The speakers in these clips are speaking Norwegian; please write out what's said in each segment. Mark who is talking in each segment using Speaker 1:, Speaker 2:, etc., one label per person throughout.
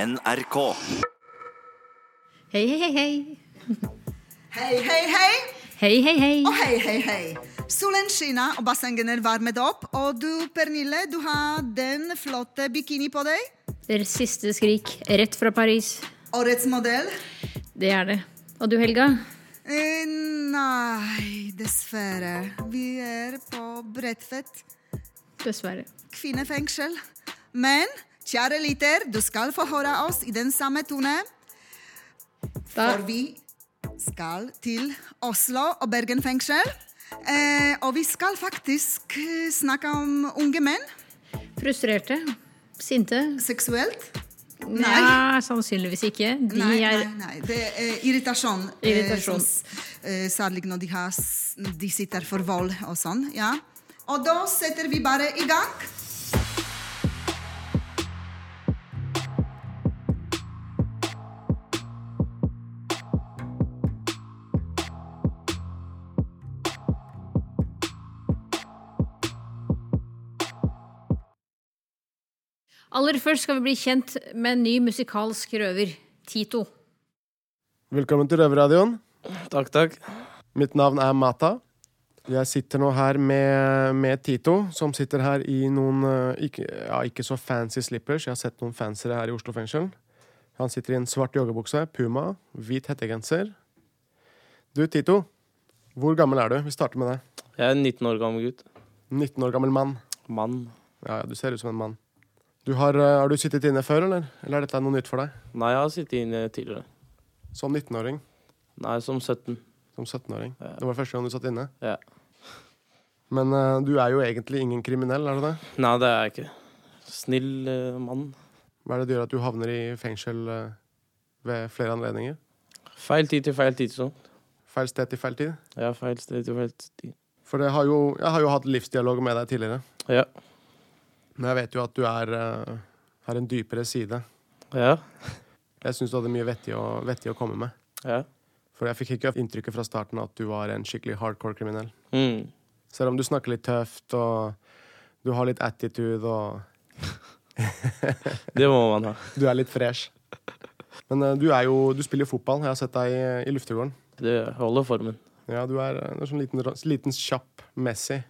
Speaker 1: NRK.
Speaker 2: Hei, hei, hei, hei.
Speaker 3: Hei, hei, hei,
Speaker 2: Hei, hei, hei.
Speaker 3: og hei, hei, hei. Solen skinner, og bassengene er varmet opp. Og du, Pernille, du har den flotte bikini på deg.
Speaker 2: Deres siste skrik rett fra Paris.
Speaker 3: Årets modell.
Speaker 2: Det er det. Og du, Helga?
Speaker 3: Eh, nei, dessverre. Vi er på Bredtvet
Speaker 2: Dessverre.
Speaker 3: kvinnefengsel. Men kjære lytter, du skal få høre oss i den samme tone,
Speaker 2: Da,
Speaker 3: for vi skal til Oslo og Bergen fengsel. Eh, og vi skal faktisk eh, snakke om unge menn
Speaker 2: frustrerte. Sinte.
Speaker 3: seksuelt.
Speaker 2: Nei, sannsynligvis ikke. De
Speaker 3: Nei,
Speaker 2: er
Speaker 3: nei, nei. Det er irritasjon. eh,
Speaker 2: Irritasjon.
Speaker 3: som, eh, særlig når de, har, s- de sitter for vold og sånn. Ja. Og da setter vi bare i gang.
Speaker 2: Aller først skal vi bli kjent med en ny musikalsk røver. Tito.
Speaker 4: Velkommen til Røverradioen.
Speaker 5: Takk, takk.
Speaker 4: Mitt navn er Mata. Jeg sitter nå her med, med Tito, som sitter her i noen eh, ikke, ja, ikke så fancy slippers. Jeg har sett noen fansere her i Oslo fengsel. Han sitter i en svart joggebukse, puma, hvit hettegenser. Du, Tito. Hvor gammel er du? Vi starter med deg.
Speaker 5: Jeg er en 19 år gammel gutt.
Speaker 4: 19 år gammel mann.
Speaker 5: Mann.
Speaker 4: Ja, ja, du ser ut som en mann. Du har, eh, har du sittet inne før, eller? Eller er dette noe nytt for deg?
Speaker 5: Nei, jeg har sittet inne tidligere.
Speaker 4: Som 19-åring?
Speaker 5: Nei, som 17.
Speaker 4: Som 17-åring?
Speaker 5: Ja.
Speaker 4: Det var første gang du satt inne?
Speaker 5: Ja.
Speaker 4: Men eh, du er jo egentlig ingen kriminell, er du det?
Speaker 5: Nei, det er jeg ikke. Snill eh, mann.
Speaker 4: Hva er det som gjør at du havner i fengsel eh, ved flere anledninger?
Speaker 5: Feil tid til feil tidspunkt.
Speaker 4: Feil sted til feil tid?
Speaker 5: Ja, feil sted til feil tid.
Speaker 4: For det har jo, jeg har jo hatt livsdialog med deg tidligere.
Speaker 5: Ja.
Speaker 4: Men jeg vet jo at du er, eh, har en dypere side.
Speaker 5: Ja.
Speaker 4: Jeg syns du hadde mye vettig å, vettig å komme med.
Speaker 5: Ja.
Speaker 4: For jeg fikk ikke inntrykket fra starten at du var en skikkelig hardcore kriminell.
Speaker 5: Mm.
Speaker 4: Selv om du snakker litt tøft, og du har litt attitude, og
Speaker 5: Det må man ha.
Speaker 4: du er litt fresh. Men eh, du, er jo, du spiller jo fotball. Jeg har sett deg i, i luftegården.
Speaker 5: Det holder formen.
Speaker 4: Ja, du er, du er sånn liten, liten kjapp Messi.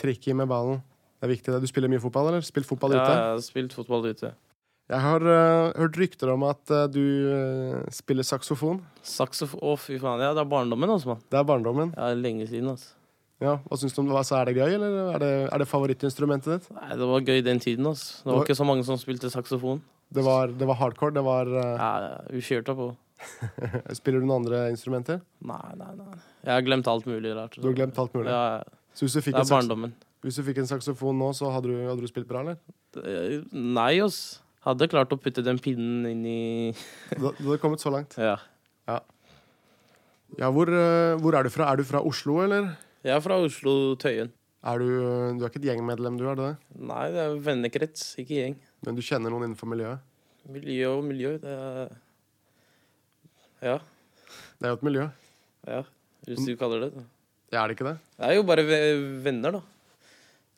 Speaker 4: Tricky med ballen. Det er viktig. det. Du spiller mye fotball, eller? Spilt fotball
Speaker 5: Ja, jeg
Speaker 4: ute?
Speaker 5: har spilt fotball ute.
Speaker 4: Jeg har øh, hørt rykter om at øh, du øh, spiller saksofon.
Speaker 5: Saksofon Å, fy faen. Ja, det er barndommen, altså, mann.
Speaker 4: Det er barndommen.
Speaker 5: Ja, det er lenge siden, altså.
Speaker 4: Ja, Hva syns du om det? Altså, er det gøy, eller er det, er det favorittinstrumentet ditt?
Speaker 5: Nei, det var gøy den tiden, altså. Det var ikke så mange som spilte saksofon.
Speaker 4: Det var, det var hardcore. Det var øh,
Speaker 5: Ja, vi kjørte på.
Speaker 4: Spiller du noen andre instrumenter?
Speaker 5: Nei, nei, nei. Jeg har glemt alt mulig rart.
Speaker 4: Du har glemt alt mulig.
Speaker 5: Ja, ja.
Speaker 4: Så hvis du fikk,
Speaker 5: det
Speaker 4: en,
Speaker 5: er
Speaker 4: saks
Speaker 5: barndommen.
Speaker 4: hvis du fikk en saksofon nå, så hadde du, hadde du spilt bra, eller?
Speaker 5: Eh, Nei, ass. Hadde klart å putte den pinnen inn i
Speaker 4: Du, du hadde kommet så langt.
Speaker 5: Ja.
Speaker 4: Ja, hvor, øh, hvor er du fra? Er du fra Oslo, eller?
Speaker 5: Jeg er fra Oslo, Tøyen.
Speaker 4: Er du, du er ikke et gjengmedlem, du, er du det?
Speaker 5: Nei, det er vennekrets, ikke gjeng.
Speaker 4: Men du kjenner noen innenfor miljøet?
Speaker 5: Miljø og miljø, det er Ja.
Speaker 4: Det er jo et miljø.
Speaker 5: Ja. Hvis du kaller det det.
Speaker 4: Er det ikke det?
Speaker 5: Det er jo bare ve- venner, da.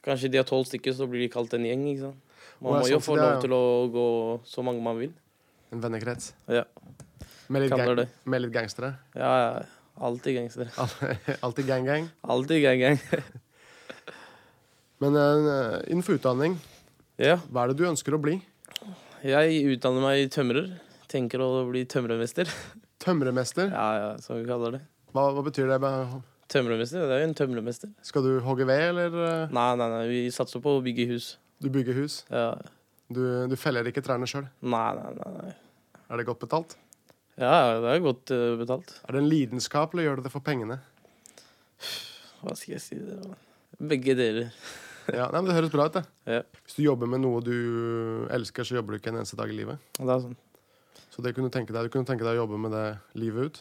Speaker 5: Kanskje de har tolv stykker, så blir de kalt en gjeng, ikke sant. Man
Speaker 4: Å, ja,
Speaker 5: må jo
Speaker 4: sånn, så
Speaker 5: få
Speaker 4: det er jo-
Speaker 5: lov til å gå så mange man vil.
Speaker 4: En vennekrets.
Speaker 5: Ja.
Speaker 4: Med litt,
Speaker 5: Kaller
Speaker 4: gang,
Speaker 5: det.
Speaker 4: med litt gangstere.
Speaker 5: Ja, ja. Alltid gangstere.
Speaker 4: Al- Alltid gang-gang.
Speaker 5: Alltid gang-gang.
Speaker 4: Men eh, innenfor utdanning,
Speaker 5: Ja.
Speaker 4: hva er det du ønsker å bli?
Speaker 5: Jeg utdanner meg tømrer. Tenker å bli tømrermester.
Speaker 4: Tømremester?
Speaker 5: Ja, ja, som vi kaller det.
Speaker 4: Hva, hva betyr det? Hva-
Speaker 5: Tømrermester, det er jo en tømrermester.
Speaker 4: Skal du hogge ved, eller eh,
Speaker 5: Nei, nei, nei, vi satser på å bygge hus.
Speaker 4: du bygger hus?
Speaker 5: Ja.
Speaker 4: Du, du feller ikke trærne sjøl.
Speaker 5: Nei, nei, nei. nei.
Speaker 4: Er det godt betalt?
Speaker 5: Ja, ja, det er godt eh, betalt.
Speaker 4: Er det en lidenskap, eller gjør du det for pengene?
Speaker 5: Hva skal jeg si? Det var- Begge deler.
Speaker 4: Ja, nei, men Det høres bra ut, det.
Speaker 5: Ja,
Speaker 4: Hvis du jobber med noe du elsker, så jobber du ikke en eneste dag i livet.
Speaker 5: det er sånn.
Speaker 4: Så det kunne du tenke deg, du kunne tenke deg å jobbe med det livet ut?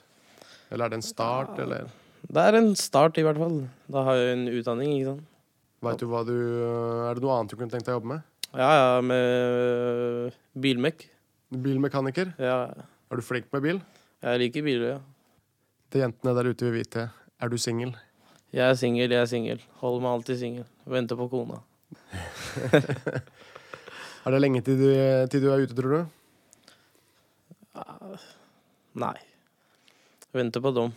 Speaker 4: Eller er det en start, eller
Speaker 5: Det er en start, i hvert fall. Da har jeg en utdanning, ikke sant.
Speaker 4: Vet du hva du Er det noe annet du kunne tenkt deg å jobbe med?
Speaker 5: Ja, ja, med bilmekk.
Speaker 4: Bilmekaniker?
Speaker 5: Ja,
Speaker 4: Er du flink med bil?
Speaker 5: jeg liker biler, ja.
Speaker 4: Til jentene der ute vil vite er du singel.
Speaker 5: Jeg er singel, jeg er singel. Holder meg alltid singel. Venter på kona.
Speaker 4: Er det lenge til du, til du er ute, tror du?
Speaker 5: Nei. Venter på dom.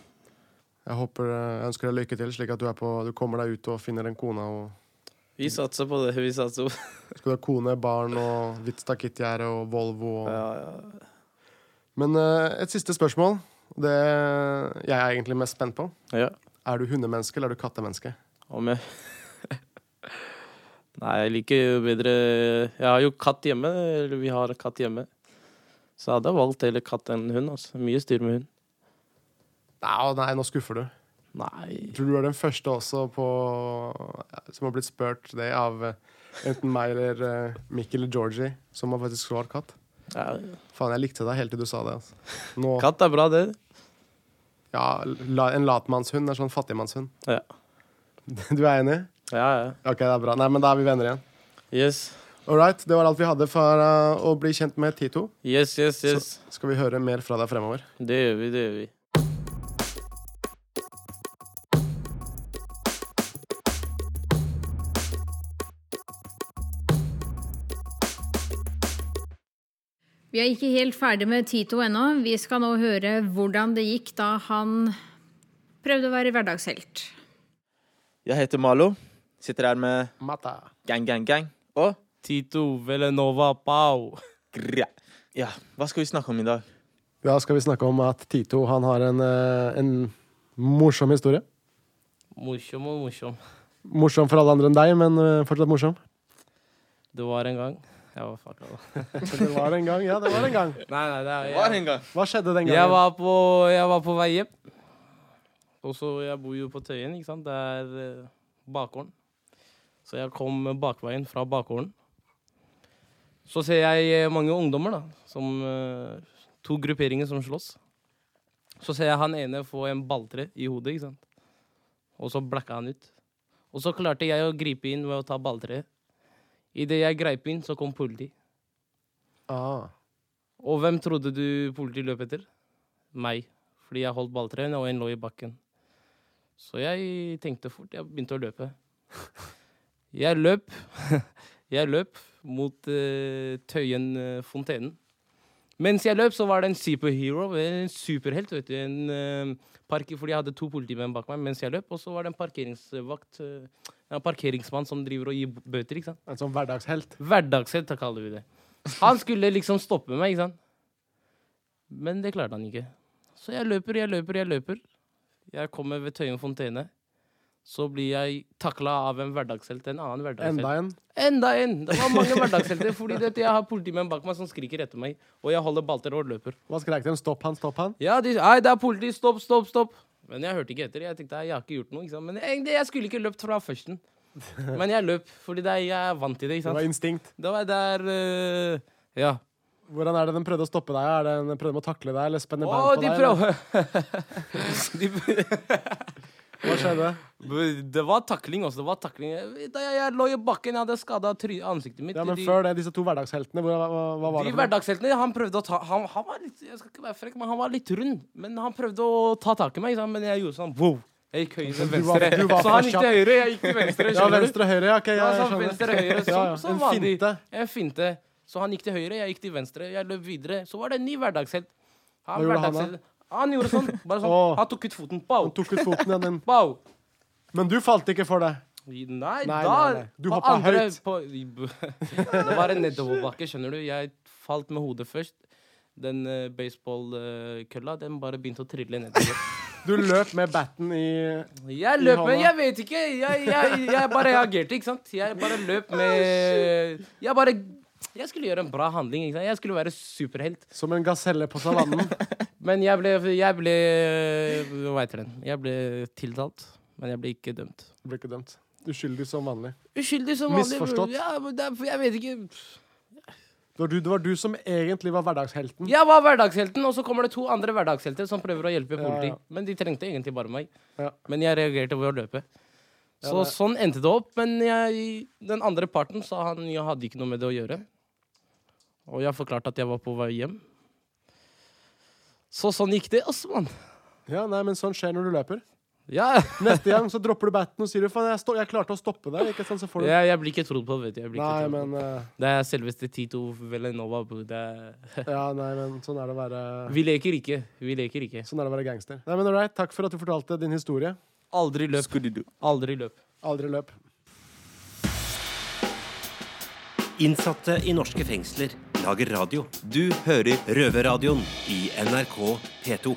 Speaker 4: Jeg, håper, eh, jeg ønsker deg lykke til, slik at du, er på, du kommer deg ut og finner en kone. Og,
Speaker 5: Vi satser på det. Vi satser på
Speaker 4: skal du ha kone, barn og hvitt stakittgjerde og Volvo og
Speaker 5: ja, ja.
Speaker 4: Men eh, et siste spørsmål. Det jeg er egentlig mest spent på.
Speaker 5: ja.
Speaker 4: Er du hundemenneske eller er du kattemenneske?
Speaker 5: Om jeg Nei, jeg liker jo bedre Jeg har jo katt hjemme. Eller vi har katt hjemme. Så jeg hadde valgt heller katt enn hund. Altså. Mye styr med hund.
Speaker 4: Nei, å nei, nå skuffer du.
Speaker 5: Nei
Speaker 4: Jeg tror du er den første også på, som har blitt spurt det av eh, enten meg eller eh, Mikkel eller Georgie, som har faktisk svar katt.
Speaker 5: ja.
Speaker 4: Faen, jeg likte deg helt til du sa det. Altså. Nå,
Speaker 5: Katt er bra, det.
Speaker 4: ja, la, en latmannshund er sånn fattigmannshund.
Speaker 5: Ja.
Speaker 4: Du er enig?
Speaker 5: ja, ja.
Speaker 4: Ok, det er bra. Nei, men da er vi venner igjen.
Speaker 5: Yes.
Speaker 4: All right, det var alt vi hadde for eh, å bli kjent med Tito.
Speaker 5: Yes, yes, yes.
Speaker 4: Skal vi høre mer fra deg fremover?
Speaker 5: Det gjør vi, det gjør vi.
Speaker 2: Vi er ikke helt ferdig med Tito ennå. Vi skal nå høre hvordan det gikk da han prøvde å være hverdagshelt.
Speaker 1: Jeg heter Malo. Sitter her med
Speaker 4: Mata.
Speaker 1: gang, gang, gang. Og
Speaker 5: Tito Velenova Pau.
Speaker 1: grei. Ja, hva skal vi snakke om i dag?
Speaker 4: Da skal vi snakke om at Tito han har en, eh, en morsom historie.
Speaker 5: Morsom og morsom.
Speaker 4: Morsom for alle andre enn deg, men eh, fortsatt morsom.
Speaker 5: Det var en gang. Jeg var fucka.
Speaker 4: Det var en gang, ja, det var en gang.
Speaker 5: Nei, nei, det er
Speaker 1: Var en gang.
Speaker 4: Hva skjedde den gangen?
Speaker 5: Jeg var på, jeg var på vei hjem. Og så Jeg bor jo på Tøyen, ikke sant. Det er eh, bakgården. Så jeg kom bakveien fra bakgården. Så ser jeg eh, mange ungdommer, da. Som eh, To grupperinger som slåss. Så ser jeg han ene få en balltre i hodet, ikke sant. Og så blacka han ut. Og så klarte jeg å gripe inn ved å ta balltreet. Idet jeg greip inn, så kom politiet.
Speaker 4: Ah,
Speaker 5: Og hvem trodde du politiet løp etter? Meg. Fordi jeg holdt balltreen, og en lå i bakken. Så jeg tenkte fort. Jeg begynte å løpe. Jeg løp. Jeg løp mot eh, Tøyen eh, fontenen. Mens jeg løp, så var det en superhero, en superhelt, vet du. En eh, park, fordi jeg hadde to politimenn bak meg mens jeg løp. Og så var det en parkeringsvakt, eh, en parkeringsmann som driver og gir b- bøter, ikke sant.
Speaker 4: en sånn hverdagshelt.
Speaker 5: Hverdagshelt, da kaller vi det. Han skulle liksom stoppe meg, ikke sant? Men det klarte han ikke. Så jeg løper, jeg løper, jeg løper. Jeg kommer ved Tøyen fontene. Så blir jeg takla av en hverdagshelt. En annen hverdagshelt.
Speaker 4: Enda en.
Speaker 5: Enda en! Det var mange hverdagshelter. Fordi du vet, jeg har politimenn bak meg som skriker etter meg. Og jeg holder balter og løper.
Speaker 4: Hva skrek de? Stopp han, stopp han.
Speaker 5: Ja, de, nei, det er politi, stopp, stopp, stopp. Men jeg hørte ikke etter. Jeg tenkte, jeg har ikke gjort noe. ikke sant? Men egentlig, jeg skulle ikke løpt fra førsten. Men jeg løp, fordi det er, jeg er vant til det. ikke
Speaker 4: Det
Speaker 5: sant?
Speaker 4: var instinkt.
Speaker 5: Det var der eh, Ja.
Speaker 4: Hvordan er det den prøvde å stoppe deg? Er det den prøvde å takle deg eller spenne
Speaker 5: Å,
Speaker 4: bein på deg?
Speaker 5: de
Speaker 4: eller?
Speaker 5: prøver de, prøv-
Speaker 4: Hva skjedde?
Speaker 5: Det var takling også. Det var takling. Da jeg, jeg lå i bakken, jeg hadde skada ansiktet mitt.
Speaker 4: Ja, men
Speaker 5: de,
Speaker 4: før det, disse to hverdagsheltene, hva, hva, hva var
Speaker 5: de
Speaker 4: det? for noe?
Speaker 5: hverdagsheltene, han prøvde å ta han, han var litt Jeg skal ikke være frekk, men han var litt rund. Men han prøvde å ta tak i meg, ikke sant? men jeg gjorde sånn wow. Jeg gikk høyre til
Speaker 4: Du var-
Speaker 5: venstre.
Speaker 4: du var
Speaker 5: Så han
Speaker 4: for
Speaker 5: gikk til høyre, jeg gikk til venstre.
Speaker 4: Ja,
Speaker 5: skjønner du?
Speaker 4: venstre, høyre, ja, ok, ja,
Speaker 5: Ja,
Speaker 4: jeg
Speaker 5: sånn
Speaker 4: skjønner.
Speaker 5: venstre, høyre,
Speaker 4: Ja,
Speaker 5: som,
Speaker 4: ja,
Speaker 5: som
Speaker 4: en
Speaker 5: vanlig.
Speaker 4: finte.
Speaker 5: En finte. Så han gikk til høyre, jeg gikk til venstre. Jeg løp videre. Så var det en ny hverdagshelt. Han,
Speaker 4: Hva gjorde han da?
Speaker 5: hverdagshelt- han gjorde sånn. Bare sånn.
Speaker 4: Åh.
Speaker 5: Han tok ut foten. Bau.
Speaker 4: Han tok ut foten igjen din.
Speaker 5: Bau.
Speaker 4: Men du falt ikke for det.
Speaker 5: Nei,
Speaker 4: nei,
Speaker 5: da
Speaker 4: nei. Du
Speaker 5: på
Speaker 4: hoppa
Speaker 5: andre-
Speaker 4: høyt.
Speaker 5: På, det var en nedoverbakke, skjønner du. Jeg falt med hodet først. Den eh, baseballkølla, den bare begynte å trille nedover.
Speaker 4: Du løp med batten i
Speaker 5: Jeg
Speaker 4: I
Speaker 5: løp med
Speaker 4: hånda.
Speaker 5: Jeg vet ikke. Jeg, jeg, jeg bare reagerte, ikke sant? Jeg bare løp med Jeg bare Jeg skulle gjøre en bra handling. ikke sant? Jeg skulle være superhelt.
Speaker 4: som en gaselle på savannen.
Speaker 5: Men jeg ble Jeg ble eh, Hva heter den? Jeg ble tiltalt, men jeg ble ikke dømt.
Speaker 4: Ble ikke dømt. Uskyldig som vanlig.
Speaker 5: Uskyldig som vanlig.
Speaker 4: Misforstått.
Speaker 5: Ja, men det, er- jeg vet ikke.
Speaker 4: Det var du, det var du som egentlig var hverdagshelten.
Speaker 5: Jeg var hverdagshelten, og så kommer det to andre hverdagshelter som prøver å hjelpe politiet.
Speaker 4: ja.
Speaker 5: Men de trengte egentlig bare meg.
Speaker 4: Ja.
Speaker 5: Men jeg reagerte ved å løpe. Så
Speaker 4: det-
Speaker 5: sånn endte det opp. Men jeg, den andre parten sa han jeg hadde ikke noe med det å gjøre. Og jeg forklarte at jeg var på vei hjem. Så sånn gikk det, ass, mann.
Speaker 4: Ja, nei, men sånn skjer når du løper.
Speaker 5: Ja,
Speaker 4: Neste gang så dropper du batten og sier du, faen, jeg, sto- jeg klarte å stoppe deg. Ikke sant? Så får du
Speaker 5: jeg, jeg blir ikke trodd på det, vet du. Jeg blir ikke
Speaker 4: Nei,
Speaker 5: trodd på
Speaker 4: men eh,
Speaker 5: det. det er selveste Tito Velenova. bro. Det er...
Speaker 4: Ja, nei, men sånn er det å være
Speaker 5: Vi leker ikke. Vi leker ikke.
Speaker 4: Sånn er det å være gangster. Nei, men all right, Takk for at du fortalte din historie.
Speaker 5: Aldri løp.
Speaker 1: Skududu.
Speaker 5: Aldri løp.
Speaker 4: Aldri løp.
Speaker 6: Innsatte i norske fengsler lager radio. Du hører Røverradioen i NRK P2.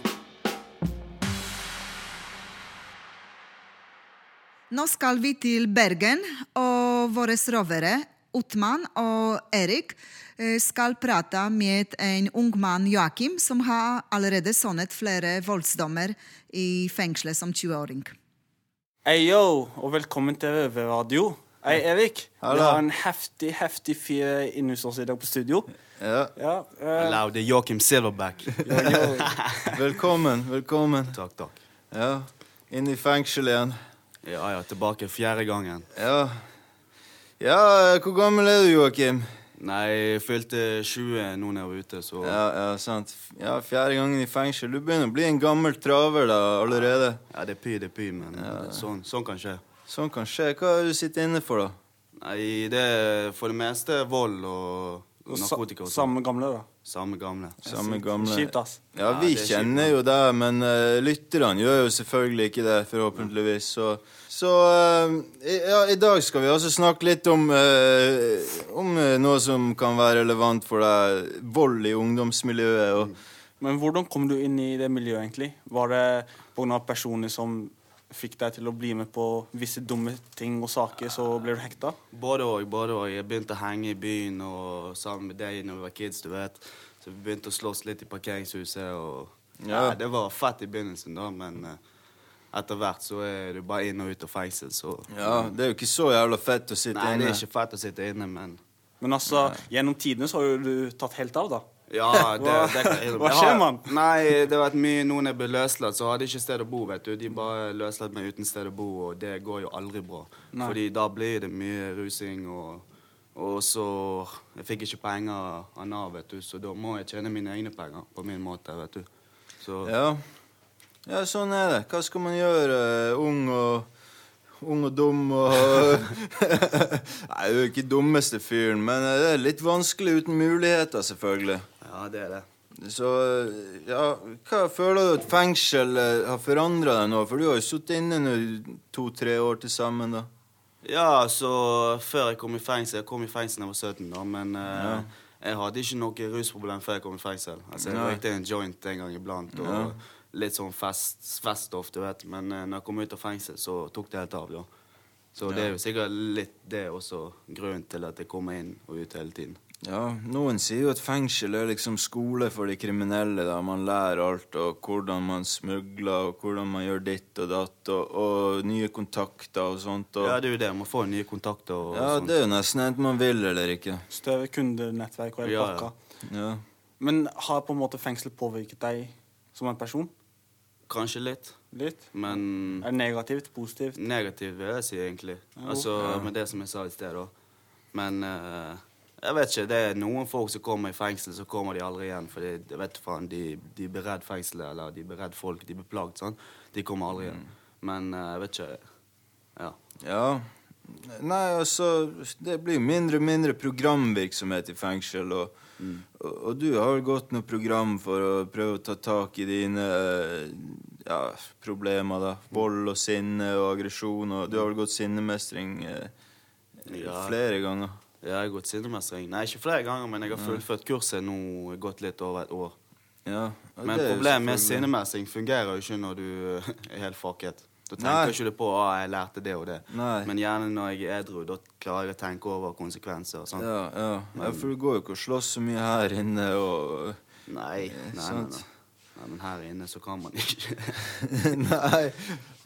Speaker 3: Nå skal vi til Bergen, og våre rovere, Utman og Erik, eh, skal prate med en ung mann, Joakim, som har allerede sonet flere voldsdommer i fengselet som 20-åring.
Speaker 7: Hey yo, og velkommen til Røverradio. Hei, Erik. Vi
Speaker 8: Hallo.
Speaker 7: har en heftig heftig fyr inne hos oss i dag på studio.
Speaker 8: Ja.
Speaker 7: Ja, eh,
Speaker 8: Hello, det er Joakim Silverback. velkommen, velkommen. Takk, takk. Ja, Inn i fengsel igjen. Ja, ja, tilbake fjerde gangen. Ja. ja, hvor gammel er du, Joakim? Nei, jeg fylte 20 nå når jeg var ute, så Ja, ja, sant. Ja, Fjerde gangen i fengsel. Du begynner å bli en gammel traver da, allerede. Ja, det er py, det er py, men sånn, kan skje. Sånn kan skje. Hva er det du sitter inne for, da? Nei, det er for det meste vold og
Speaker 7: og sa- Samme gamle, da.
Speaker 8: samme gamle.
Speaker 7: Samme gamle. Kjipt, ass.
Speaker 8: Ja, vi kjenner jo det, men eh, lytterne gjør jo selvfølgelig ikke det, forhåpentligvis. Så, så eh, i, ja, i dag skal vi altså snakke litt om, eh, om eh, noe som kan være relevant for deg. Vold i ungdomsmiljøet og
Speaker 7: Men hvordan kom du inn i det miljøet, egentlig? Var det pga. personer som fikk deg til å bli med på visse dumme ting og saker, så ble du hekta?
Speaker 9: Både òg, både òg. Jeg begynte å henge i byen og sammen med deg når vi var kids. du vet. Så vi begynte å slåss litt i parkeringshuset. og... Ja.
Speaker 8: Ja.
Speaker 9: det var fett i begynnelsen, da, men eh, etter hvert så er du bare inn og ut av fengsel, så
Speaker 8: Ja, det er jo ikke så jævla fett å sitte
Speaker 9: Nei, det
Speaker 8: inne.
Speaker 9: er ikke fett å sitte inne, men
Speaker 7: Men altså, gjennom tidene så har jo du tatt helt av, da.
Speaker 9: ja, det, det,
Speaker 7: Hva-
Speaker 9: kan jeg innrømme.
Speaker 7: hva
Speaker 9: Jeg har-
Speaker 7: skjer, mann?
Speaker 9: Nei, det har vært mye noen jeg ble løslatt, så hadde jeg ikke sted å bo. vet du. De bare løslatt meg uten sted å bo, og det går jo aldri bra.
Speaker 7: Nei.
Speaker 9: Fordi da blir det mye rusing, og, og så Jeg fikk ikke penger av Nav, vet du, så da må jeg tjene mine egne penger på min måte, vet du. Så
Speaker 8: Ja. ja, sånn er det. Hva skal man gjøre, eh, ung og Ung og dum og Nei, du er ikke dummeste fyren, men eh, det er litt vanskelig uten muligheter, selvfølgelig.
Speaker 9: ja, det er det.
Speaker 8: Så eh, ja, hva føler du at fengsel eh, har forandra deg nå? For du har jo sittet inne nå to-tre år til sammen, da.
Speaker 9: Ja, så før jeg kom i fengsel Jeg kom i fengsel da jeg var 17, da, men eh, jeg hadde ikke noe rusproblem før jeg kom i fengsel. Altså, Jeg
Speaker 8: Nei.
Speaker 9: røykte en joint en gang iblant, og litt sånn fest, feststoff, du vet. Men eh, når jeg kom ut av fengsel, så tok det helt av, da. Så det er jo sikkert litt det også grunnen til at jeg kommer inn og ut hele tiden.
Speaker 8: Ja, Noen sier jo at fengsel er liksom skole for de kriminelle. da. Man lærer alt, og hvordan man smugler, og hvordan man gjør ditt og datt, og, og nye kontakter og sånt. Og,
Speaker 9: Ja, det er jo det. Man får nye kontakter og,
Speaker 8: ja,
Speaker 9: og sånt.
Speaker 8: det er jo nesten enten man vil eller ikke.
Speaker 7: Større kundenettverk og hele
Speaker 9: Ja, ja.
Speaker 7: pakka.
Speaker 8: Ja.
Speaker 7: Men har på en måte fengselet påvirket deg som en person?
Speaker 9: Kanskje litt,
Speaker 7: Litt?
Speaker 9: men
Speaker 7: Er det negativt? Positivt?
Speaker 9: Negativ, vil jeg si, egentlig.
Speaker 7: Jo.
Speaker 9: Altså, Med det som jeg sa i sted, da. Men eh, jeg vet ikke. Det er noen folk som kommer i fengsel, så kommer de aldri igjen. For jeg vet faen, de, de blir redd fengselet, eller de blir redd folk, de blir plagd. sånn. De kommer
Speaker 7: Mm.
Speaker 9: aldri igjen. Men eh, jeg vet ikke. Ja.
Speaker 8: Ja. Nei, altså Det blir mindre og mindre programvirksomhet i fengsel. Og, og, og du har vel gått noe program for å prøve å ta tak i dine eh, ja, problemer, da. Vold og sinne og aggresjon. Og du har vel gått sinnemestring eh,
Speaker 9: Ja.
Speaker 8: flere ganger.
Speaker 9: Jeg har gått sinnemestring. Nei, ikke flere ganger, men jeg har fullført kurset nå gått litt over et år.
Speaker 8: Ja. ja,
Speaker 9: Men
Speaker 8: det er jo
Speaker 9: problemet med
Speaker 8: selvfølgelig-
Speaker 9: sinnemestring fungerer jo ikke når du er helt fucket. Da
Speaker 8: Nei.
Speaker 9: tenker ikke du på at ah, jeg lærte det og det.
Speaker 8: Nei.
Speaker 9: Men gjerne når jeg er edru, da klarer jeg å tenke over konsekvenser og sånn.
Speaker 8: Ja, ja. ja, for du går jo ikke og slåss så mye her inne og
Speaker 9: Nei,
Speaker 8: Eh,
Speaker 9: nei, nei,
Speaker 8: sant.
Speaker 9: nei. nei, men her inne så kan man ikke.
Speaker 8: Nei.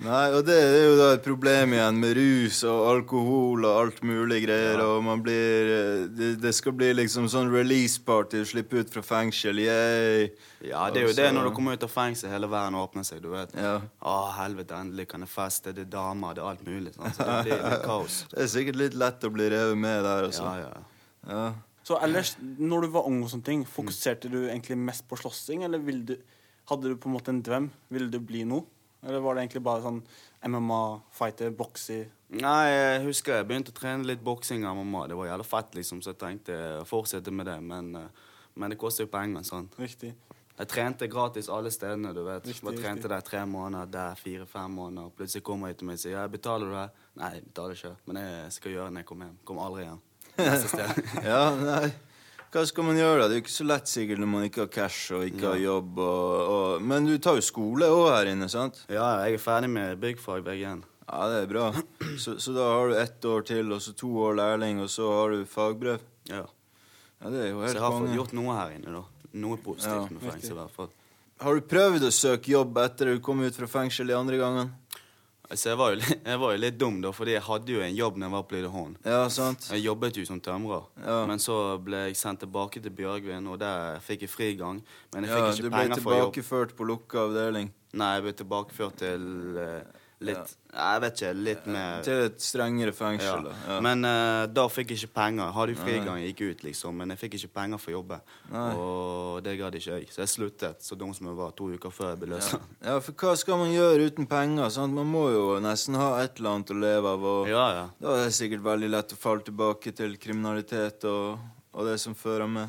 Speaker 8: Nei, og det er jo da et problem igjen med rus og alkohol og alt mulig greier. Og man blir eh, det, det skal bli liksom sånn release party, slippe ut fra fengsel, yay.
Speaker 9: Ja, det er jo
Speaker 8: Og
Speaker 9: det
Speaker 8: så-
Speaker 9: når du kommer ut av fengsel, hele verden åpner seg, du vet.
Speaker 8: Altså- Ja.
Speaker 9: Å, helvete, endelig kan jeg feste, det er damer, det er alt mulig. Sånn. Så det blir litt kaos.
Speaker 8: Det er sikkert litt lett å bli revet med der, altså.
Speaker 9: Ja, ja.
Speaker 8: Ja.
Speaker 7: Så ellers, når du var ung, og sånne ting, fokuserte du egentlig mest på slåssing? Eller ville du, hadde du på en måte en drøm? Ville du bli noe? Eller var det egentlig bare sånn MMA-fighter, bokser?
Speaker 9: Nei, jeg husker jeg begynte å trene litt boksing av mamma. Det var jævla fett, liksom, så jeg tenkte å fortsette med det. Men, eh, men det koster jo penger. sånn.
Speaker 7: Riktig.
Speaker 9: Jeg trente gratis alle stedene. du vet.
Speaker 7: Riktig,
Speaker 9: Bare
Speaker 7: riktig.
Speaker 9: trente der tre måneder, der fire-fem måneder. Plutselig kommer jeg til meg og sier jeg betaler du her? Nei, jeg betaler ikke. Men jeg skal gjøre det når jeg kommer hjem. Kommer aldri hjem. Neste sted.
Speaker 8: ja, nei. Hva skal man gjøre? da? Det er jo ikke så lett sikkert når man ikke har cash og ikke har jobb. Og, og... Men du tar jo skole òg her inne, sant?
Speaker 9: Ja, jeg er ferdig med byggfag VG1.
Speaker 8: Ja, det er bra. Så, så da har du ett år til, og så to år lærling, og så har du fagbrev?
Speaker 9: Ja.
Speaker 8: ja det er jo
Speaker 9: Så
Speaker 8: helt
Speaker 9: jeg har
Speaker 8: konge.
Speaker 9: fått gjort noe her inne, da. Noe
Speaker 8: Ja,
Speaker 9: positivt med fengsel,
Speaker 8: riktig.
Speaker 9: i hvert fall.
Speaker 8: Har du prøvd å søke jobb etter at du kom ut fra fengsel de andre gangen?
Speaker 9: Altså, jeg var, jo, litt- jeg var jo litt dum, da, fordi jeg hadde jo en jobb når jeg var på Lille Hån.
Speaker 8: Ja, sant.
Speaker 9: Jeg jobbet jo som tømrer.
Speaker 8: Ja.
Speaker 9: Men så ble jeg sendt tilbake til Bjørgvin, og der fikk jeg frigang. Men jeg
Speaker 8: Ja,
Speaker 9: fikk
Speaker 8: du
Speaker 9: ikke
Speaker 8: ble
Speaker 9: penger for jobb.
Speaker 8: tilbakeført på lukka avdeling.
Speaker 9: Nei, jeg ble tilbakeført til eh, litt Nei, Jeg vet ikke. Litt mer
Speaker 8: Til et strengere
Speaker 9: ja.
Speaker 8: fengsel. Da. Ja.
Speaker 9: Men eh, da fikk jeg ikke penger. Jeg hadde jo
Speaker 8: Nei.
Speaker 9: frigang, jeg gikk ut, liksom. Men jeg fikk ikke penger for å jobbe.
Speaker 8: Nei.
Speaker 9: Og det gadd ikke jeg. Så jeg sluttet, så dum som jeg var, to uker før jeg ble løst.
Speaker 8: Ja, for hva skal man gjøre uten penger? Sant? Man må jo nesten ha et eller annet å leve av. Og
Speaker 9: Ja, ja.
Speaker 8: Da er det sikkert veldig lett å falle tilbake til kriminalitet og, og det som fører med.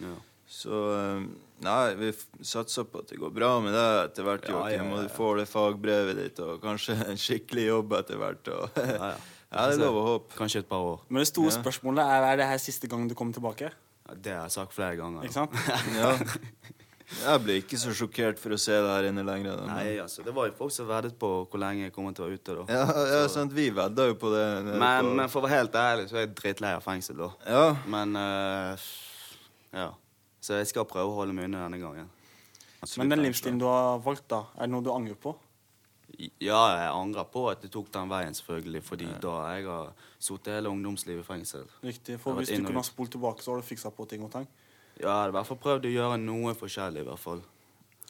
Speaker 9: Ja.
Speaker 8: Så eh, nei, vi f- satser på at det går bra med deg etter hvert,
Speaker 9: Ja, ja,
Speaker 8: Joakim.
Speaker 9: ja,
Speaker 8: Og
Speaker 9: ja.
Speaker 8: du får det fagbrevet ditt og kanskje en skikkelig jobb etter hvert. Og ja, det er lov å håpe.
Speaker 9: Kanskje et par år.
Speaker 7: Men det store
Speaker 8: Ja.
Speaker 7: spørsmålet er er det her siste gang du kommer tilbake.
Speaker 9: Ja, Det har jeg sagt flere ganger.
Speaker 7: Ikke sant?
Speaker 8: Ja. Jeg blir ikke så sjokkert for å se deg her inne lenger. Da, men-
Speaker 9: Nei, altså, det var jo folk som veddet på hvor lenge jeg kommer til å være ute. da.
Speaker 8: Ja, ja, sant, vi vedder jo på det. nede
Speaker 9: Men,
Speaker 8: på-
Speaker 9: men for å være helt ærlig, så er jeg drittlei av fengsel, da.
Speaker 8: ja.
Speaker 9: Men eh, ja. Så jeg skal prøve å holde meg unna denne gangen.
Speaker 7: Men den livsstilen du har valgt, da, er det noe du angrer på?
Speaker 9: Ja, jeg angrer på at jeg tok den veien, selvfølgelig, fordi da jeg har sittet hele ungdomslivet i fengsel.
Speaker 7: Riktig,
Speaker 9: Jeg
Speaker 7: for
Speaker 9: har
Speaker 7: Hvis
Speaker 9: vært
Speaker 7: du
Speaker 9: inn og
Speaker 7: kunne ha
Speaker 9: ut.
Speaker 7: spolt tilbake, så hadde du fiksa på ting og tang.
Speaker 9: Ja, jeg har i hvert fall prøvd å gjøre noe forskjellig, i hvert fall.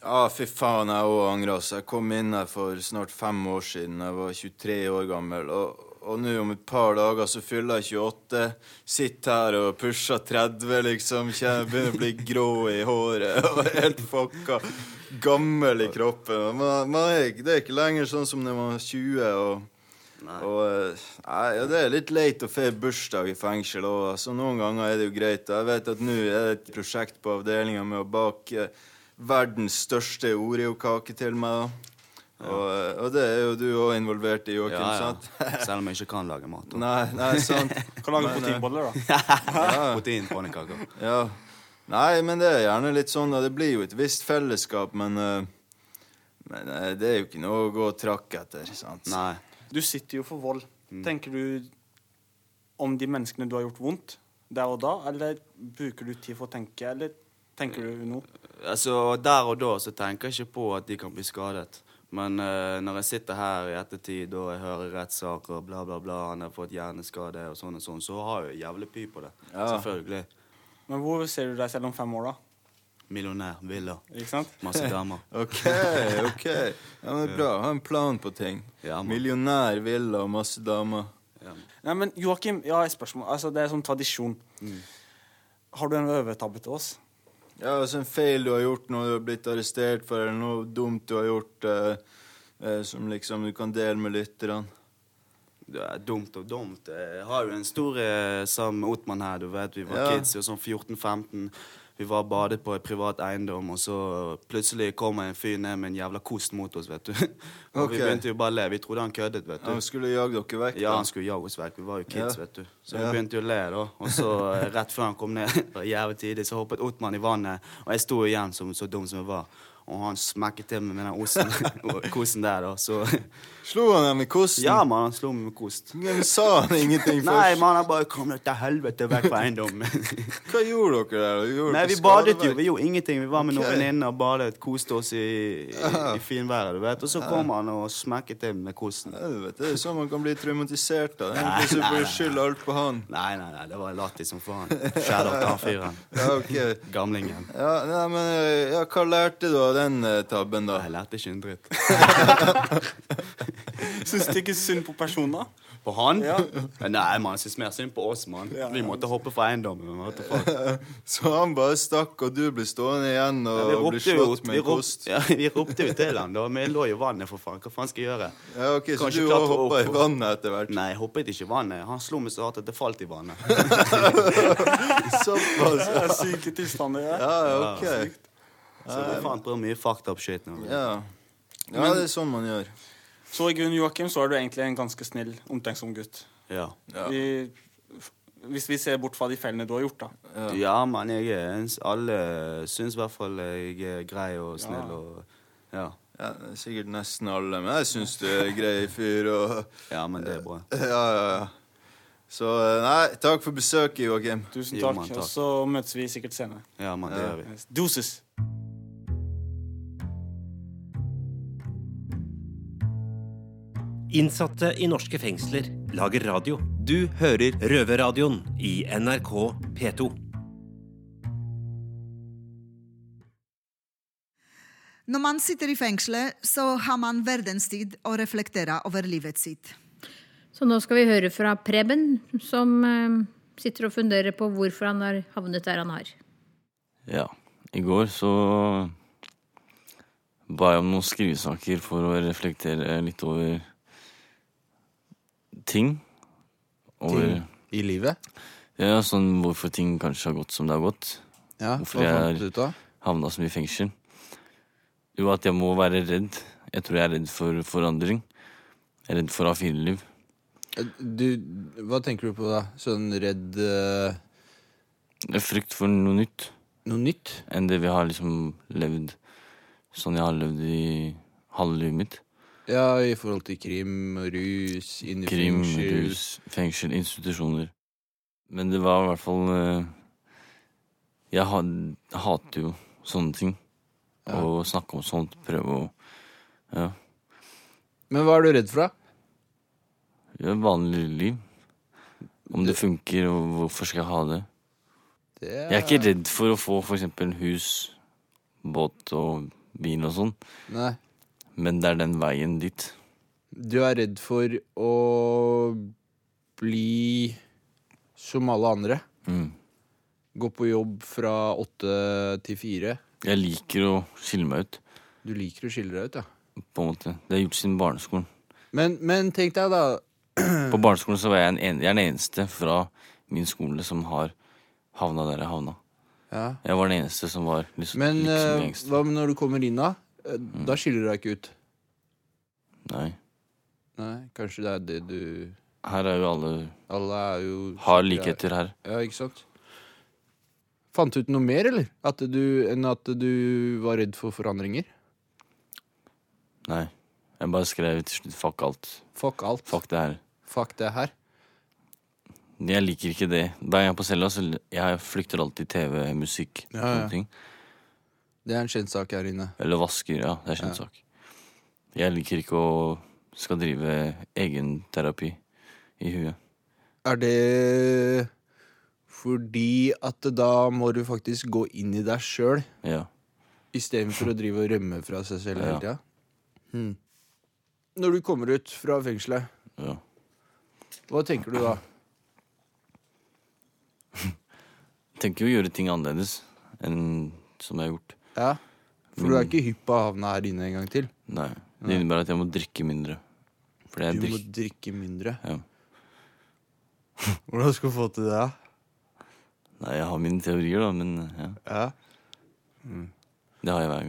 Speaker 8: Ja, fy faen, jeg òg angrer. Altså. Jeg kom inn her for snart fem år siden. Jeg var 23 år gammel. Og, og nå om et par dager så fyller jeg 28. Sitter her og pusher 30, liksom. Kjenner, begynner å bli grå i håret og er helt fucka. Gammel i kroppen. Man, man er, ikke- det er ikke lenger sånn som når man er 20. og...
Speaker 9: Nei.
Speaker 8: Og eh, nei, ja, Det er litt leit å feire bursdag i fengsel òg. Altså, noen ganger er det jo greit. Og jeg vet at nå er det et prosjekt på avdelinga med å bake eh, verdens største Oreo-kake til meg. da. Og, eh, og det er jo du òg involvert i, Joakim.
Speaker 9: Ja, ja.
Speaker 8: sant?
Speaker 9: Selv om jeg ikke kan lage mat. da.
Speaker 8: Nei, nei, sant.
Speaker 7: Kan lage
Speaker 8: Men, eh,
Speaker 7: proteinboller, da.
Speaker 9: Protein, pannekaker.
Speaker 8: Ja. Nei, men det er gjerne litt sånn da. Det blir jo et visst fellesskap, men, eh, men eh, det er jo ikke noe å gå og trakke etter. sant?
Speaker 9: Nei.
Speaker 7: Du sitter jo for vold.
Speaker 8: Mm.
Speaker 7: Tenker du om de menneskene du har gjort vondt der og da, eller bruker du tid for å tenke, eller tenker du noe?
Speaker 9: Altså, Der og da så tenker jeg ikke på at de kan bli skadet. Men eh, når jeg sitter her i ettertid og jeg hører rettssaker og bla, bla, bla, han har fått hjerneskade og sånn og sånn, så har jeg jævlig py på det.
Speaker 8: Ja.
Speaker 9: Selvfølgelig.
Speaker 7: Men hvor ser du deg selv om fem år, da?
Speaker 9: Millionær, villa,
Speaker 7: Ikke sant?
Speaker 9: masse damer.
Speaker 8: Ok, ok. Ja, men Bra. Ha en plan på ting.
Speaker 9: Ja, man.
Speaker 8: Millionær, villa og masse damer.
Speaker 7: Nei, men Joakim, jeg har et spørsmål. Altså, det er sånn tradisjon.
Speaker 9: Mm.
Speaker 7: Har du en øvetabbe til oss?
Speaker 8: Ja, altså En feil du har gjort, noe du har blitt arrestert for, eller noe dumt du har gjort eh, eh, som liksom du kan dele med lytterne.
Speaker 9: Det er dumt og dumt. Jeg har jo en stor eh, sammen med Ottmann her. du vet. Vi var
Speaker 8: Ja.
Speaker 9: kids, jo sånn 14-15. Vi var og badet på et privat eiendom, og så plutselig kommer en fyr ned med en jævla kost mot oss, vet du. Og
Speaker 8: Ok.
Speaker 9: vi begynte jo bare å le. Vi trodde han køddet, vet du.
Speaker 8: Han skulle jage dere vekk.
Speaker 9: Ja,
Speaker 8: da.
Speaker 9: han skulle jage oss vekk. Vi var jo kids,
Speaker 8: Ja.
Speaker 9: vet du. Så vi
Speaker 8: Ja.
Speaker 9: begynte jo å le, da. Og så eh, rett før han kom ned, jævlig tidlig, så hoppet Ottmann i vannet. Og jeg sto igjen som så dum som jeg var. Og han smekket til meg med den osten og kosen der, da. Så
Speaker 8: Slo han dem i kosten?
Speaker 9: ja, mann, han slo meg med kost.
Speaker 8: Men sa han ingenting først?
Speaker 9: Nei, mann, han bare kom deg til helvete vekk fra eiendommen.
Speaker 8: Hva gjorde dere der? Gjorde
Speaker 9: Nei,
Speaker 8: dere
Speaker 9: vi
Speaker 8: skade
Speaker 9: badet jo.
Speaker 8: vekk?
Speaker 9: Vi gjorde ingenting. Vi var med noen
Speaker 8: Ok.
Speaker 9: venninner og badet, koste oss i, i, i finværet, du vet. Og så kom han og smekket til med kosten.
Speaker 8: Ja, du vet, det er sånn man kan bli traumatisert av. Egentlig så får du skylde alt på han.
Speaker 9: Nei, nei, nei, det var lattis som faen. Shadow til han fyren.
Speaker 8: Ja, ok.
Speaker 9: Gamlingen.
Speaker 8: Ja, nei, men eh, ja, Hva lærte du av den eh, tabben, da?
Speaker 9: Jeg lærte ikke en dritt.
Speaker 7: Syns du ikke synd på personen, da?
Speaker 9: På han?
Speaker 7: Ja.
Speaker 9: Nei, man syns mer synd på oss, mann.
Speaker 7: Ja.
Speaker 9: Vi måtte hoppe fra eiendommen. What the fuck?
Speaker 8: Så han bare stakk, og du ble stående igjen og
Speaker 9: vi
Speaker 8: ble
Speaker 9: ropte jo
Speaker 8: slått med
Speaker 9: vi
Speaker 8: en
Speaker 9: rop-
Speaker 8: kost.
Speaker 9: Ja, vi ropte jo til han, da. Vi lå jo i vannet, for faen. Hva faen skal jeg gjøre?
Speaker 8: Ja, ok, Så
Speaker 9: Kanskje
Speaker 8: du har
Speaker 9: klatre
Speaker 8: hoppa i
Speaker 9: opp.
Speaker 8: vannet etter hvert?
Speaker 9: Nei, jeg hoppet ikke i vannet. Han slo meg så hardt at det falt i vannet.
Speaker 8: Såpass?
Speaker 7: Det er syke tilstander. Ja.
Speaker 8: Ja, ok.
Speaker 9: Så vi fant på mye fucked up shit nå.
Speaker 8: Ja. ja, det er sånn man gjør.
Speaker 7: Så i grunnen, Joakim, så er du egentlig en ganske snill, omtenksom gutt.
Speaker 9: Ja.
Speaker 7: Vi, hvis vi ser bort fra de feilene du har gjort, da.
Speaker 9: Ja, men jeg er en Alle syns i hvert fall eh, jeg er grei og snill og Ja.
Speaker 8: Ja, det er Sikkert nesten alle, men jeg syns du er grei fyr. og...
Speaker 9: Ja, men det er bra.
Speaker 8: Ja, ja, ja. Så eh, nei, takk for besøket, Joakim.
Speaker 7: Tusen
Speaker 9: Jo,
Speaker 7: takk.
Speaker 9: mann, takk.
Speaker 7: Og så møtes vi sikkert senere.
Speaker 9: Ja, men det gjør vi.
Speaker 7: Doses!
Speaker 6: Innsatte i norske fengsler lager radio. Du hører Røverradioen i NRK P2.
Speaker 3: Når man sitter i fengselet, så har man verdenstid å reflektere over livet sitt.
Speaker 2: Så nå skal vi høre fra Preben, som eh, sitter og funderer på hvorfor han har havnet der han har.
Speaker 10: Ja. I går så ba jeg om noen skrivesaker for å reflektere litt over ting. Over
Speaker 11: I livet?
Speaker 10: Ja, sånn hvorfor ting kanskje har gått som det har gått.
Speaker 11: Ja,
Speaker 10: hvorfor
Speaker 11: hva fant du
Speaker 10: jeg
Speaker 11: ut av?
Speaker 10: har havna så mye i fengsel. Jo, at jeg må være redd. Jeg tror jeg er redd for forandring. Jeg er redd for A4-liv.
Speaker 11: Du, hva tenker du på da? Sånn redd eh,
Speaker 10: Frykt for noe nytt.
Speaker 11: Noe nytt?
Speaker 10: Enn det vi har liksom levd sånn jeg har levd i halve livet mitt.
Speaker 11: Ja, i forhold til krim, rus, inne i
Speaker 10: Krim,
Speaker 11: fengsel.
Speaker 10: rus, fengsel, institusjoner. Men det var i hvert fall eh, Jeg ha- hater jo sånne ting. Å snakke om sånt, prøve å Ja.
Speaker 11: Men hva er du redd for, da?
Speaker 10: Det er vanlig liv. Om det funker, og hvorfor skal jeg ha det? Jeg er ikke redd for å få for eksempel hus, båt og bil og sånn,
Speaker 11: Nei.
Speaker 10: men det er den veien dit.
Speaker 11: Du er redd for å bli som alle andre.
Speaker 10: Mm.
Speaker 11: Gå på jobb fra åtte til fire.
Speaker 10: Jeg liker å skille meg ut,
Speaker 11: Du liker å skille deg ut, ja.
Speaker 10: på en måte. Det har jeg gjort siden barneskolen.
Speaker 11: Men, men tenk deg, da.
Speaker 10: På barneskolen så var jeg, en en, jeg er den eneste fra min skole som har havna der jeg havna.
Speaker 11: Ja.
Speaker 10: Jeg var den eneste som var liksom,
Speaker 11: Men
Speaker 10: liksom
Speaker 11: eh,
Speaker 10: gangster.
Speaker 11: hva med når du kommer inn, da? Eh,
Speaker 10: Mm.
Speaker 11: Da skiller du deg ikke ut.
Speaker 10: Nei.
Speaker 11: Nei, kanskje det er det du
Speaker 10: Her er jo alle
Speaker 11: Alle er jo
Speaker 10: Har likheter her.
Speaker 11: Ja, ikke sant? Fant du ut noe mer, eller? At du, enn at du var redd for forandringer?
Speaker 10: Nei. Jeg bare skrev til slutt fuck alt.
Speaker 11: Fuck alt.
Speaker 10: Fuck det her.
Speaker 11: Fuck det her.
Speaker 10: Jeg liker ikke det. Da jeg er på cella, så l- jeg flykter alltid TV, musikk,
Speaker 11: Ja,
Speaker 10: sånne
Speaker 11: ja.
Speaker 10: ting.
Speaker 11: Det er en kjent sak her inne.
Speaker 10: Eller vasker. Ja, det er kjent sak. Jeg liker ikke å skal drive egenterapi i huet.
Speaker 11: Er det fordi at da må du faktisk gå inn i deg sjøl,
Speaker 10: Ja.
Speaker 11: istedenfor å drive og rømme fra seg selv hele
Speaker 10: Ja.
Speaker 11: tida? Hmm. Når du kommer ut fra fengselet,
Speaker 10: Ja.
Speaker 11: hva tenker du da?
Speaker 10: Tenker jo å gjøre ting annerledes enn som jeg har gjort.
Speaker 11: Ja? For du er ikke hypp på å havne her inne en gang til.
Speaker 10: Nei. Det innebærer at jeg må drikke mindre. Fordi jeg
Speaker 11: Du må
Speaker 10: drikker
Speaker 11: drikke mindre.
Speaker 10: ja.
Speaker 11: Hvordan skal du få til det? da?
Speaker 10: Nei, jeg har mine teorier, da, men ja. Mm.
Speaker 11: Ja.
Speaker 10: det har jeg hver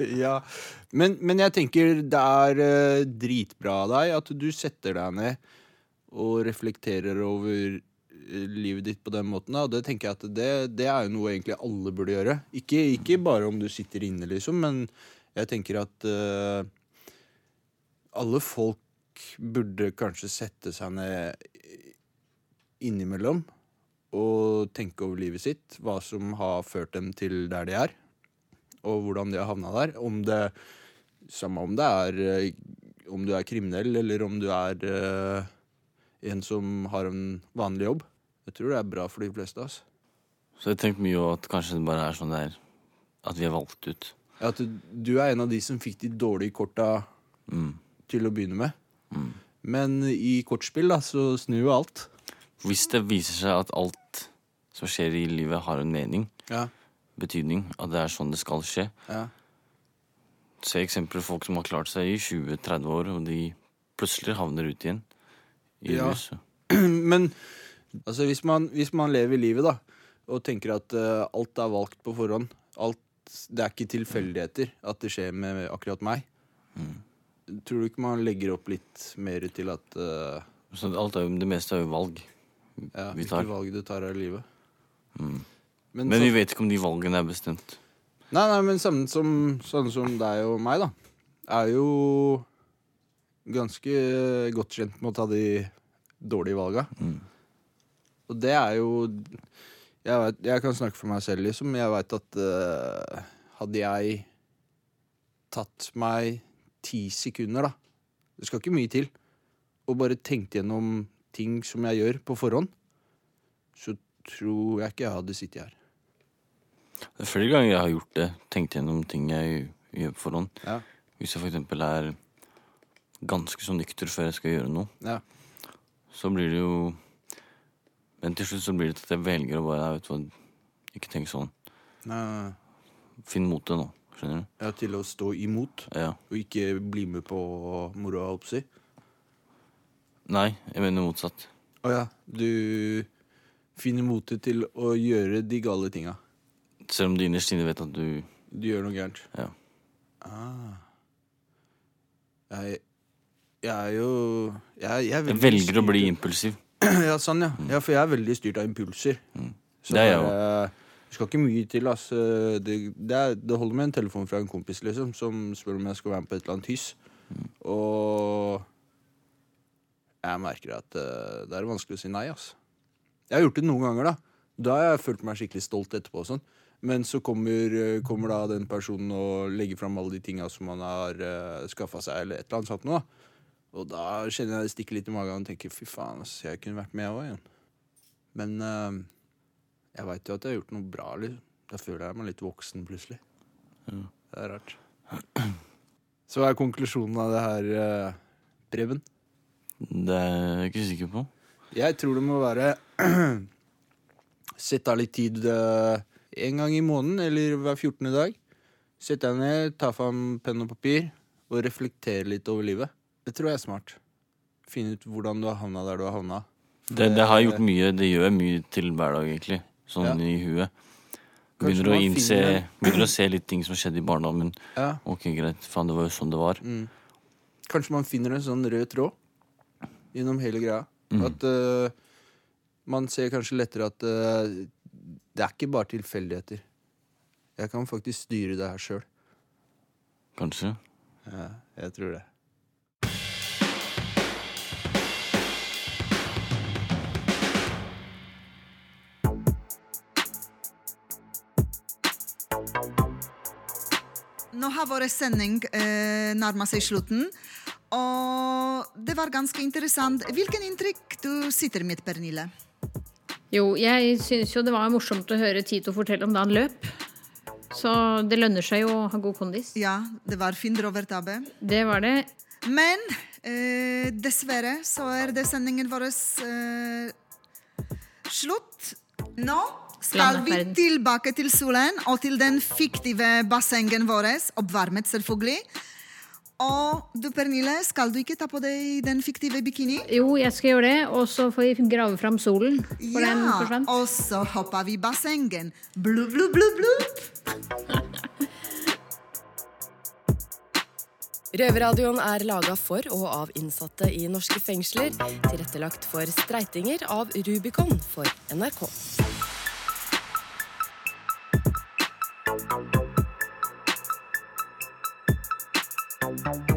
Speaker 10: gang.
Speaker 11: ja. Men, men jeg tenker det er eh, dritbra av deg at du setter deg ned og reflekterer over eh, livet ditt på den måten. da. Og det tenker jeg at det, det er jo noe egentlig alle burde gjøre. Ikke, ikke bare om du sitter inne, liksom, men jeg tenker at eh, alle folk burde kanskje sette seg ned innimellom og tenke over livet sitt. Hva som har ført dem til der de er og hvordan de har havna der. Om det, samme om det er eh, om du er kriminell, eller om du er eh, en som har en vanlig jobb. Jeg tror det er bra for de fleste. ass.
Speaker 10: Så jeg har tenkt mye over at kanskje det bare er sånn det er. At vi er valgt ut.
Speaker 11: At du, du er en av de som fikk de dårlige korta
Speaker 10: Mm.
Speaker 11: til å begynne med. Mm. Men i kortspill da, så snur jo alt.
Speaker 10: Hvis det viser seg at alt som skjer i livet, har en mening,
Speaker 11: Ja.
Speaker 10: betydning, at det er sånn det skal skje
Speaker 11: Ja.
Speaker 10: Se eksempler på folk som har klart seg i 20-30 år, og de plutselig havner ut igjen i
Speaker 11: Ja.
Speaker 10: ruset.
Speaker 11: Men altså, hvis, man, hvis man lever livet da og tenker at eh, alt er valgt på forhånd alt, Det er ikke tilfeldigheter at det skjer med akkurat meg.
Speaker 9: Mm.
Speaker 11: Tror du ikke man legger opp litt mer til at eh,
Speaker 10: Så alt er jo, det meste er jo valg
Speaker 11: ja,
Speaker 10: vi
Speaker 11: Hvilke
Speaker 10: tar.
Speaker 11: valg du tar av livet?
Speaker 10: Mm.
Speaker 11: Men
Speaker 10: Men,
Speaker 11: så-
Speaker 10: vi vet ikke om de valgene er bestemt.
Speaker 11: Nei, nei, men sånne som, sånne som deg og meg, da, er jo ganske godt kjent med å ta de dårlige valga. Og det er jo jeg, vet, jeg kan snakke for meg selv, liksom. Jeg veit at eh, hadde jeg tatt meg ti sekunder, da Det skal ikke mye til. Og bare tenkt gjennom ting som jeg gjør, på forhånd, så tror jeg ikke jeg hadde sittet her.
Speaker 10: Det er flere ganger jeg har gjort det. Tenkt gjennom ting jeg gjør på forhånd.
Speaker 11: Ja.
Speaker 10: Hvis jeg for eksempel er ganske så nykter før jeg skal gjøre noe,
Speaker 11: Ja.
Speaker 10: så blir det jo Men til slutt så blir det at jeg velger å bare vet du hva, ikke tenk sånn.
Speaker 11: Nei.
Speaker 10: Finn motet nå. Skjønner du?
Speaker 11: Ja, til å stå imot
Speaker 10: Ja.
Speaker 11: og ikke bli med på moroa, holdt på å si.
Speaker 10: Nei, jeg mener motsatt.
Speaker 11: Å ja. Du finner motet til å gjøre de gale tinga.
Speaker 10: Selv om du innerst inne vet at du
Speaker 11: Du gjør noe gærent.
Speaker 10: Ja.
Speaker 11: Ah. Jeg, jeg er jo Jeg, jeg, er
Speaker 10: Jeg
Speaker 11: veldig
Speaker 10: velger å
Speaker 11: styrt-
Speaker 10: bli impulsiv.
Speaker 11: Ja, sånn, ja. ja. For jeg er veldig styrt av impulser. Så
Speaker 10: Mm. Det er jeg
Speaker 11: bare- Det skal ikke mye til. ass. Eh, Det, det, er, det holder med en telefon fra en kompis liksom, som spør om jeg skal være med på et eller annet hyss.
Speaker 10: Mm.
Speaker 11: Og jeg merker at eh, det er vanskelig å si nei. ass. Jeg har gjort det noen ganger. Da Da har jeg følt meg skikkelig stolt etterpå. og sånn. Men så kommer, eh, kommer da den personen og legger fram alle de tinga som han har uh, skaffa seg. eller et eller annet sånt nå, da. Og da kjenner jeg det stikker litt i magen og tenker fy faen, ass, jeg kunne vært med òg igjen. Men eh, jeg veit jo at jeg har gjort noe bra. Liksom. Da føler jeg meg litt voksen plutselig. Det er rart. Så hva er konklusjonen av det her, eh, Preben?
Speaker 10: Det er jeg ikke sikker på.
Speaker 11: Jeg tror det må være Sett av litt tid eh, en gang i måneden eller hver 14. dag. Sett deg ned, ta fram penn og papir og reflektere litt over livet. Det tror jeg er smart. Finne ut hvordan du har havna der du har havna.
Speaker 10: Det, det har gjort mye, det gjør mye til hver dag, egentlig. Sånn
Speaker 11: Ja.
Speaker 10: i huet.
Speaker 11: Kanskje
Speaker 10: Begynner å,
Speaker 11: man
Speaker 10: innse,
Speaker 11: finner-
Speaker 10: begynner å se litt ting som skjedde i barndommen.
Speaker 11: Ja.
Speaker 10: Ok, greit. Faen, det var jo sånn det var.
Speaker 11: Mm. Kanskje man finner en sånn rød tråd gjennom hele greia. At eh, man ser kanskje lettere at eh, det er ikke bare tilfeldigheter. Jeg kan faktisk styre det her sjøl.
Speaker 10: Kanskje.
Speaker 11: Ja, jeg tror det.
Speaker 3: Nå har vår sending eh, nærmet seg slutten. Og det var ganske interessant. Hvilken inntrykk du sitter med, Pernille?
Speaker 2: Jo, jeg syns jo det var morsomt å høre Tito fortelle om da han løp. Så det lønner seg jo å ha god kondis.
Speaker 3: Ja, det var fin rovertabbe.
Speaker 2: Det var det.
Speaker 3: Men eh, dessverre så er det sendingen vår eh, slutt. Nå skal
Speaker 2: Landet
Speaker 3: vi
Speaker 2: verden.
Speaker 3: tilbake til solen og til den fiktive bassengen vår, oppvarmet selvfølgelig. Og du, Pernille, skal du ikke ta på deg den fiktive bikini?
Speaker 2: Jo, jeg skal gjøre det, og så får vi grave fram solen. For
Speaker 3: Ja,
Speaker 2: den forsvant.
Speaker 3: og så hopper vi i bassengen. Blubb, blubb, blubb, blubb.
Speaker 12: Røverradioen er laga for og av innsatte i norske fengsler. Tilrettelagt for streitinger av Rubicon for NRK.
Speaker 13: Thank you.